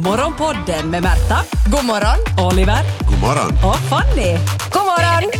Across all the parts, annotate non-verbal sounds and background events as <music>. Morgonpodden med Märta. God morgon. Oliver. God morgon. Och Fanny. God morgon!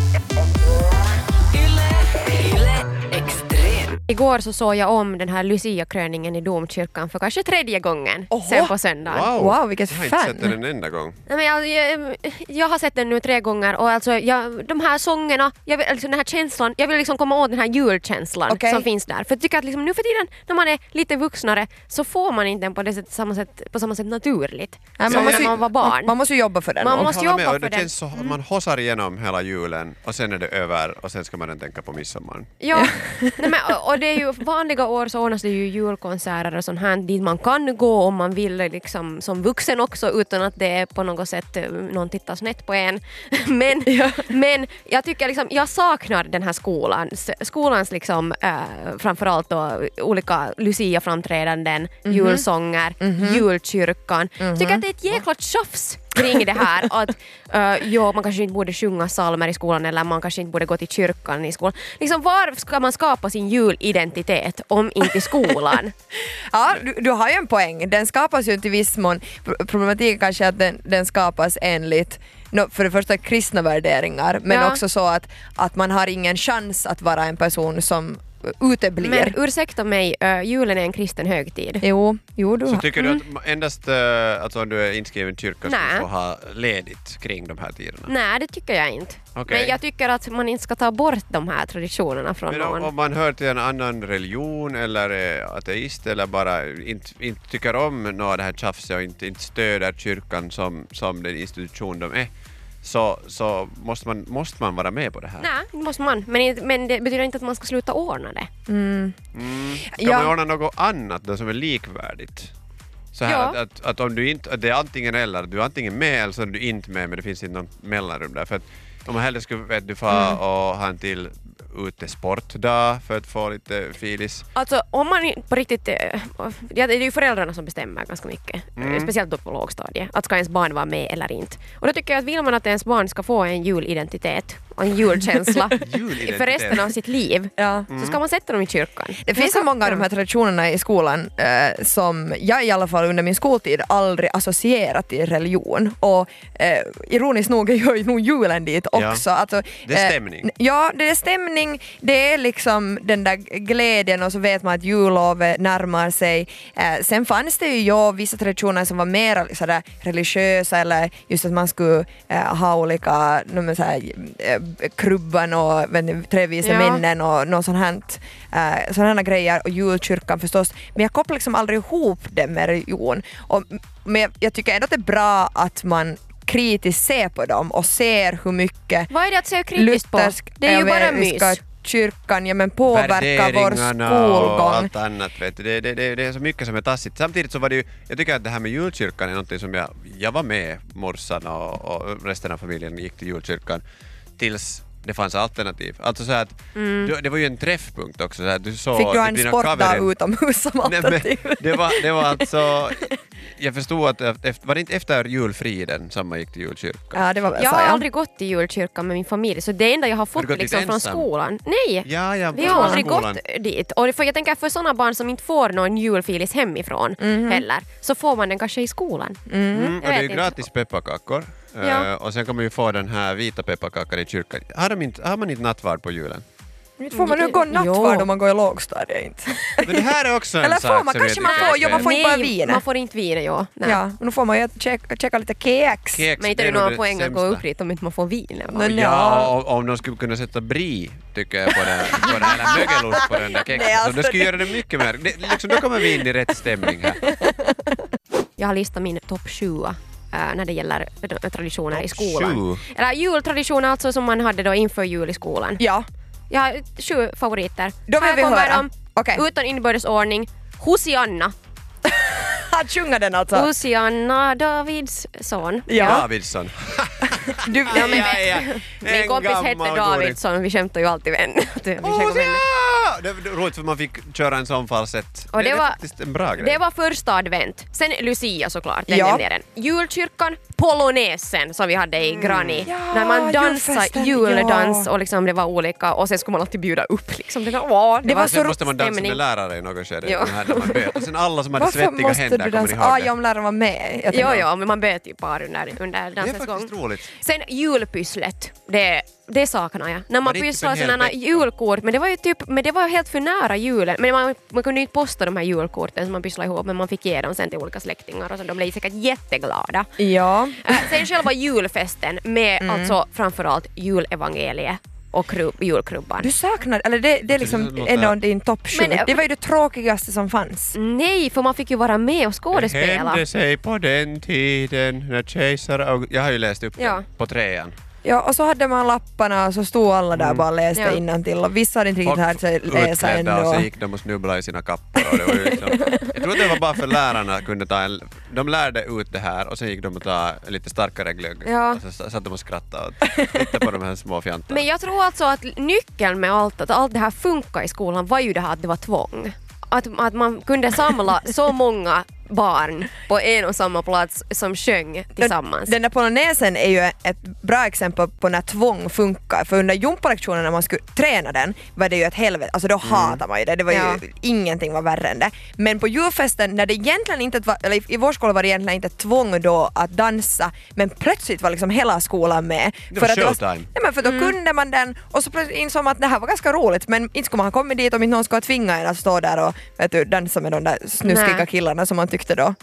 Igår så såg jag om den här Lucia-kröningen i domkyrkan för kanske tredje gången Oho. sen på söndagen. Wow, vilket Jag har inte fan. sett den en enda gång. Nej, men jag, jag, jag har sett den nu tre gånger och alltså jag, de här sångerna, jag vill, alltså den här känslan, jag vill liksom komma åt den här julkänslan Okej. som finns där. För jag tycker att liksom, nu för tiden när man är lite vuxnare så får man inte den på, det sätt, samma, sätt, på samma sätt naturligt Nej, som måste när ju- man var barn. Man, man måste ju jobba för den. Man också. måste Håller med, jobba och det för den. känns så, man hossar igenom hela julen och sen är det över och sen ska man inte tänka på midsommar. Ja, <laughs> Nej, men, och- och det är ju vanliga år så ordnas det ju julkonserter och sånt här dit man kan gå om man vill liksom som vuxen också utan att det är på något sätt eh, någon tittar snett på en. <laughs> Men, men jag tycker liksom, jag saknar den här skolans, skolans liksom eh, framförallt då olika Lucia-framträdanden, Mhm. julsånger, julkyrkan. Tycker att det är ett jäkla tjafs kring det <laughs> här att eh, ja, man kanske inte borde sjunga psalmer i skolan eller man kanske inte borde gå till kyrkan i skolan. Liksom var ska man skapa sin julidentitet om inte <laughs> i skolan? Ja, du, du har ju en poäng. Den skapas ju till viss mån, pro- problematiken kanske är att den, den skapas enligt nå, för det första kristna värderingar men Ja. också så att, att man har ingen chans att vara en person som uteblir. Men ursäkta mig, eh, julen är en kristen högtid. jo, jo du Mm. Så har. tycker du att endast eh, alltså, om du är inskriven i kyrkan ska Nej. du få ha ledigt kring de här tiderna? Nej, det tycker jag inte. Okej. Men jag tycker att man inte ska ta bort de här traditionerna från Men om, någon. om man hör till en annan religion eller är ateist eller bara inte, inte tycker om något av det här tjafset och inte, inte stöder kyrkan som, som den institution de är så, så måste, man, måste man vara med på det här. Nej, det måste man. Men, inte- men det betyder inte att man ska sluta ordna det. Mm. Kan Ja. man ordna något annat då som är likvärdigt? Så här Ja. att, att, att om du inte, att det är antingen eller, du är antingen med eller så är du inte med men det finns inte något mellanrum där. För att om man hellre skulle vet du, fara och ha en till utesportdag för att få lite filis. Alltså om man på riktigt... eh, Ja, det är ju föräldrarna som bestämmer ganska mycket. Mm. Eh, Speciellt då på lågstadiet. Att ska ens barn vara med eller inte. Och då tycker jag att vill man att ens barn ska få en julidentitet och en julkänsla <laughs> Julidentitet. Mm. för resten av sitt liv Ja. så ska man sätta dem i kyrkan. Det finns så många av de här traditionerna i skolan eh, som jag i alla fall under min skoltid aldrig associerat till religion. Och eh, ironiskt nog gör ju nog julen dit Ja. också. Alltså, Det är stämning. ja, det är stämning. Det är liksom den där glädjen och så vet man att jullovet närmar sig. Eh, sen fanns det ju ja, vissa traditioner som var mer sådär, religiösa eller just att man skulle eh, ha olika no, men, såhär, eh, krubban och vet ni, tre vise Ja. männen kyrkan och någon sån här, eh, sån här grejer och julkyrkan förstås. Men jag kopplar liksom aldrig ihop det med religion. Och, men jag, jag tycker ändå att det är bra att man kritiskt ser på dem och ser hur mycket Vad är det att se kritiskt på? luthersk- Det är ju bara mys. evangeliska kyrkan ja, men påverkar vår Värderingarna och skolgång. allt annat. Vet du. Det, det, det, det är så mycket som är tassigt. Samtidigt så var det ju, jag tycker att det här med julkyrkan är någonting som jag, jag var med morsan och, och resten av familjen gick till julkyrkan tills det fanns alternativ. Alltså så här att, du, det var ju en träffpunkt också. Så här, att du såg Mm. Fick du ha att en dina sportdag kaverin- utomhus som <laughs> Nej, men alternativ? det, var, det var alltså... Jag förstod att efter, var det inte efter julfriden som man gick till julkyrkan? <laughs> Ja, det var väl Jag så, har ja. aldrig gått i julkyrkan med min familj så det enda jag har du fått gått dit liksom från ensam? skolan. Nej! Ja, ja, Vi har aldrig skolan. gått dit. Och för jag tänker för sådana barn som inte får någon julfilis hemifrån Mhm. heller så får man den kanske i skolan. Mm, och Jag det är vet ju inte. gratis pepparkakor. Eh, Ja. och sen kommer vi få den här vita pepparkakan i kyrkan. Har, de inte, har man inte nattvard på julen? Inte Får man Mm, nu gå nattvard om man går i lågstadiet? inte? <laughs> Men det här är också en Eller får sak man? som jag Kanske man tycker får är jobba spännande. får inte bara Nej, vin. Man får inte vina, ja. <laughs> Nej. Ja, men då får man ju checka, checka lite kex. Kex, Men inte det är det nog någon det poäng att gå sämsta. upp dit om inte man får vin. Eller? vad? Men Ja, om, om de skulle kunna sätta bri, tycker jag, på den, på den här mögelost på den där kexen. Nej, så alltså det skulle det- göra det mycket mer. Det, liksom, då kommer vi in i rätt stämning här. <laughs> Jag har listat min topp 20 eh, när det gäller eh, traditioner i Topp skolan. Eller jultraditioner alltså som man hade då inför jul i skolan. Ja, Jag har sju favoriter. Då vill Här vi kommer höra. de. Okej. Utan inbördes ordning. Hosianna. att sjunga den alltså. Hosianna, Davids son. Ja, Davidsson. du, Ja, men- ja. <laughs> Min En kompis gammal hette dålig- <laughs> Davidsson, vi skämtar ju alltid med henne. Att vi skämtar med henne. Hosianna! det var roligt för man fick köra en sån falsett. Och det är var- faktiskt en bra grej. Det var första advent. Sen Lucia såklart, den Ja. nämnde jag den. Julkyrkan, polonesen som vi hade i Mm. Granny. Ja, när man dansade julfesten, juledans ja. och liksom det var olika och sen skulle man alltid bjuda upp liksom. Det, var, åh, det, Det var, var Sen så måste man dansa stämning. med lärare i något skede. Ja. Den här där man böt. Och sen alla som hade Varför svettiga måste händer, du kommer ni dansa? ihåg Ah, det? ja, om läraren var med. Jag Jo, tänkte- jo, men man böt ju par under, under det är dansens gång. faktiskt roligt. Sen julpysslet, det, det saknar jag. När man det är typ pysslar en hel sådana vecka. julkort, men det var ju typ, men det var helt för nära julen. Men man, man kunde ju inte posta de här julkorten som man pysslade ihop, men man fick ge dem sen till olika släktingar och så. De blev säkert jätteglada. Ja. Mm. Äh, sen själva julfesten med alltså framförallt julevangeliet och kru- julkrubban. Du saknar, eller det, det är Det liksom låter- ändå din topp sju. Men- Det var ju det tråkigaste som fanns. Nej, för man fick ju vara med och Det skådespela. hände sig på den tiden när kejsare August... Jag har ju läst upp Ja. den på trean. Ja, och så hade man lapparna och så stod alla där bara och läste Ja. innantill och vissa hade inte riktigt lärt sig läsa ännu. Mm. utklädda och så gick de och snubblade i sina kappor. Och det var ju liksom, jag tror att det var bara för lärarna kunde ta en... De lärde ut det här och sen gick de och ta en lite starkare glögg. Ja. Och så satt de och skrattade och tittade på de här små fjantarna. Men jag tror alltså att nyckeln med allt, att allt det här funkar i skolan var ju det här att det var tvång. Att, att man kunde samla <laughs> så många barn på en och samma plats som sjöng tillsammans. Den där polonesen är ju ett bra exempel på när tvång funkar. För under gympalektionen när man skulle träna den var det ju ett helvete. Alltså då hatar man ju det. det var Ja. ju, ingenting var värre än det. Men på julfesten när det egentligen inte var, eller i- i vår skola var det egentligen inte ett tvång då att dansa men plötsligt var liksom hela skolan med. Det var att showtime. nej men för då kunde man den och så plötsligt insåg man att det här var ganska roligt men inte skulle man ha kommit dit om inte någon skulle ha tvingat en att stå där och vet du, dansa med de där snuskiga Nej. killarna som man tyckte då.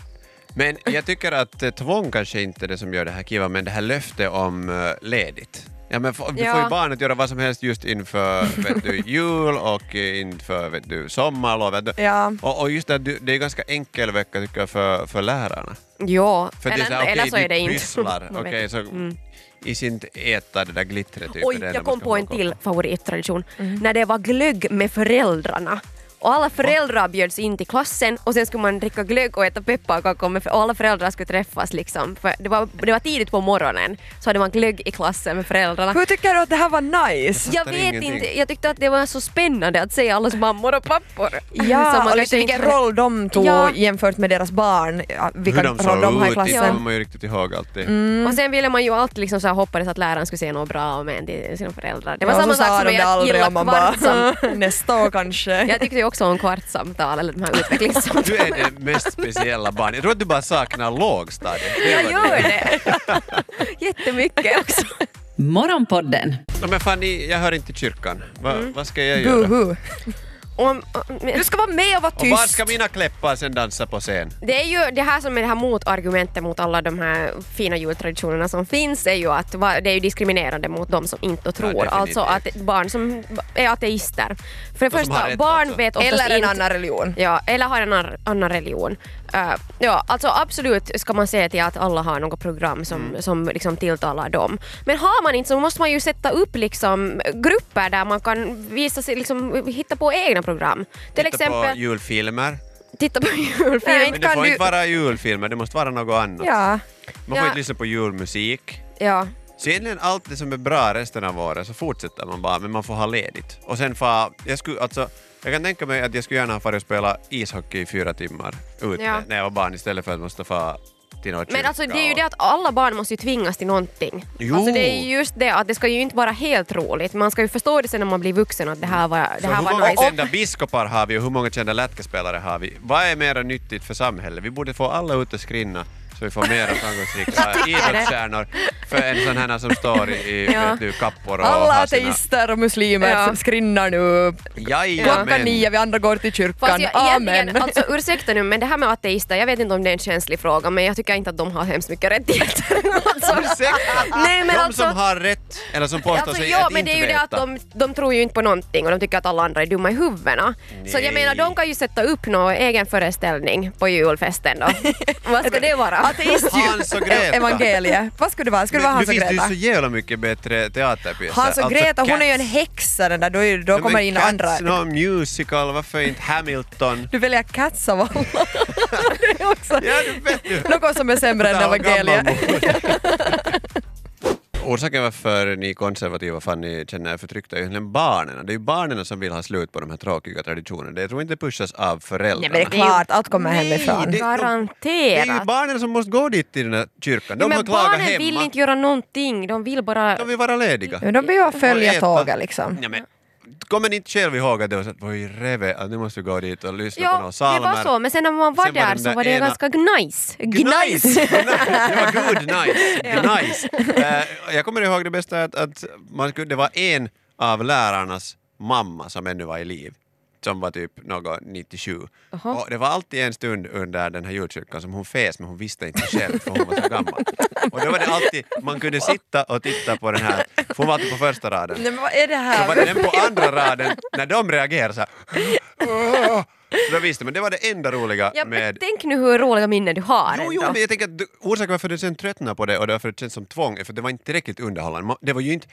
Men jag tycker att eh, tvång kanske inte är det som gör det här kiva, men det här löftet om eh, ledigt. Ja, men få- vi Ja. får ju barnet göra vad som helst just inför vet <laughs> du, jul och eh, inför vet du, sommarlovet. Ja. Och, och just det, här, du- det är ganska enkel vecka tycker jag för, för lärarna. ja, För eller, det är här, eller okej, så är vi det inte. <laughs> pysslar, Man vet okej, inte. Mm. så i sin äta det där glittret. Typ, Oj, det är det jag man kom ska på hålla en koll till favorittradition. När det var glögg med föräldrarna. Och alla föräldrar bjöds in till klassen och sen skulle man dricka glögg och äta pepparkakor med- och alla föräldrar skulle träffas liksom. För det, var, det var tidigt på morgonen så hade man glögg i klassen med föräldrarna. Hur tycker du att det här var nice? Jag fattar vet ingenting. inte, jag tyckte att det var så spännande att se allas mammor och pappor. Så <laughs> Ja, och kanske liksom vilken inte- roll de tog Ja. jämfört med deras barn, ja, vilken Hur de såg roll de har ut, i det kommer klassen. man ju riktigt ihåg alltid. Mm. Och sen ville man ju alltid liksom så här hoppades att läraren skulle se något bra om en till sina föräldrar. Det var Ja, samma så sa sak som de det jag aldrig gillade och man bara kvartsam. <laughs> nästa år kanske. Jag tyckte ju också om kvartssamtal eller de <laughs> här utvecklingssamtalen. Du är det mest speciella barnet. Jag tror att du bara saknar lågstadiet. Det Jag var gör det. <laughs> Jättemycket <laughs> också. Morgonpodden. No, men fan, ni- jag hör inte till kyrkan. Va, Mm. Vad ska jag göra? Buhu. Om, Du ska vara med och vara Och var tyst. ska mina kläppar sen dansa på scen? det är ju det här som är det här motargumentet mot alla de här fina jultraditionerna som finns är ju att va- det är ju diskriminerande mot de som inte tror. definitivt. alltså att barn som är ateister. För det som har första, rätt barn alltså. vet oftast Eller en inte annan religion. Ja, eller har en annan- annan religion. Eh, ja, alltså absolut ska man se till att alla har något program som, Mm. som liksom tilltalar dem. Men har man inte så måste man ju sätta upp liksom grupper där man kan visa sig, liksom, hitta på egna program. Till Titta exempel, på julfilmer. titta på julfilm. Nej, Men det Inte kan får du- inte vara julfilmer, det måste vara något annat. Ja. Man får Ja. inte lyssna på julmusik. Ja. Så egentligen allt det som är bra resten av året så fortsätter man bara, men man får ha ledigt. Och sen får jag skulle, alltså, jag kan tänka mig att jag skulle gärna ha farit och spela ishockey i fyra timmar ute Ja. när jag var barn istället för att måste få till någon Men kyrka alltså det är ju och- det att alla barn måste ju tvingas till någonting. Jo. Alltså det är ju just det att det ska ju inte vara helt roligt. Man ska ju förstå det sen när man blir vuxen att det här var, det För här hur var många nice. kända biskopar har vi och hur många kända lätkaspelare har vi? Vad är mera nyttigt för samhället? Vi borde få alla ut och skrinna så vi får mera <laughs> framgångsrika idrottsstjärnor för en sån här som står i, i Ja. vet du, kappor och Alla har sina... ateister och muslimer Ja. skrinnar nu. Klockan Jajamän! nio, vi andra går till Fast kyrkan. jag, Amen. egentligen, alltså, ursäkta nu, men det här med ateister, jag vet inte om det är en känslig fråga, men jag tycker inte att de har hemskt <laughs> mycket rättigheter. alltså, <laughs> Ursäkta! Nej, men de alltså- som har rätt, eller som påstår alltså, sig ja, att men det inte är ju det att veta. <laughs> de, de tror ju inte på någonting och de tycker att alla andra är dumma i huvudena. Så jag Nej. menar, de kan ju sätta upp någon egen föreställning <laughs> på julfesten då. Vad ska det vara? Ateist Hans och Greta. evangelie. Vad skulle det vara? Skulle det Men vara Hans nu finns och det ju Greta? så jävla mycket bättre teaterpjäser. Hans och Alltså, Greta, hon är ju en Cats. häxa den där. Då, är- då Ja, men kommer in Cats, andra. någon musical, varför inte <laughs> Hamilton? Du väljer Cats av alla. <laughs> Det är också Ja, du vet ju. något som är sämre än Tää on evangelia. gammalmuori. Orsaken varför ni konservativa fan ni känner er förtryckta är ju egentligen barnen. Det är ju barnen som vill ha slut på de här tråkiga traditionerna. Det jag tror inte pushas av föräldrarna. Men det är klart, allt kommer Nej, hemifrån. det- Det är ju Garanterat. barnen som måste gå dit till den här kyrkan. De men har klagat barnen hemma. vill inte göra någonting, de vill bara... De vill vara lediga. Men de blir ju att Och Mm. följa äta. tåget liksom. Ja, men, kommer ni inte själv ihåg att det var så att "Voi reve, att nu måste vi gå dit och lyssna på Ja, några det psalmer? var så, men sen när man var Sen var där den så där var det ena- ganska gnajs. Gnajs! <laughs> Gnajs! Gnajs. det var <laughs> good nice. Gnajs. Eh, jag kommer ihåg det bästa att, att man skulle, det var en av lärarnas mamma som ännu var i liv som var typ något 97. Aha. Och det var alltid en stund under den här julkyrkan som hon fes men hon visste inte själv för hon var så gammal. Och då var det alltid, man kunde sitta och titta på den här, för hon var alltid på första raden. Nej, men vad är det Så var här? det den på andra raden, när de reagerade så här. "Åh!" Så då visste man, det var det enda roliga Ja, men med tänk nu hur roliga minnen du har Jo, jo, ändå. men jag tänker att du- orsaken varför du sen tröttnade på det och därför det känns som tvång är för det var inte tillräckligt underhållande. Ma- Det var ju inte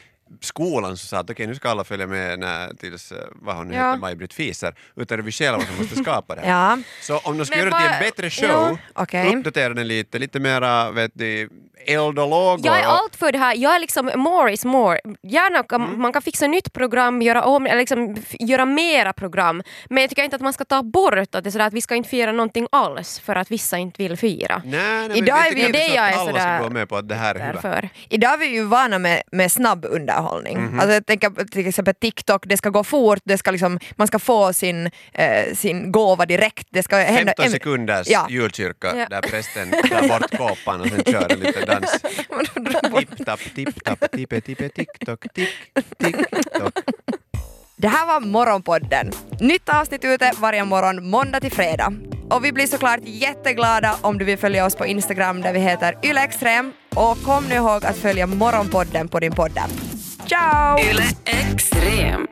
skolan som sa att okej nu ska alla följa med när, tills, eh, vad hon nu Ja. hette, Maj-Britt Fieser, utan det är vi själva som måste skapa det <laughs> här. Ja. Så om de ska Men göra det till en vad- bättre ja, show, okej. uppdatera den lite, lite mera vet du, eld och lågor. Jag är och- allt för det här, jag är liksom more is more. Gärna kan, Mm. man kan fixa nytt program, göra om, eller liksom f- göra mera program. Men jag tycker inte att man ska ta bort att det är sådär att vi ska inte fira någonting alls för att vissa inte vill fira. Nej, nej, men Idag jag är tycker vi- inte det så jag att är alla sådär- ska gå med på att det här är hyvä. Därför. Idag är vi ju vana med, med snabb underhållning. Mhm. Alltså jag tänker på till exempel TikTok, det ska gå fort, det ska liksom, man ska få sin, eh, sin gåva direkt. Det ska hända 15 sekunders Ja. julkyrka Ja. där prästen tar bort kåpan och sen kör en liten <laughs> dans. <laughs> Tipp-tapp, tipp-tapp, tippe-tippe, tick-tock, tick-tick-tock. Det här var Morgonpodden. Nytt avsnitt ute varje morgon måndag till fredag. Och vi blir såklart jätteglada om du vill följa oss på Instagram där vi heter ylextrem. Och kom nu ihåg att följa Morgonpodden på din poddapp. Ciao! Yle Extrem.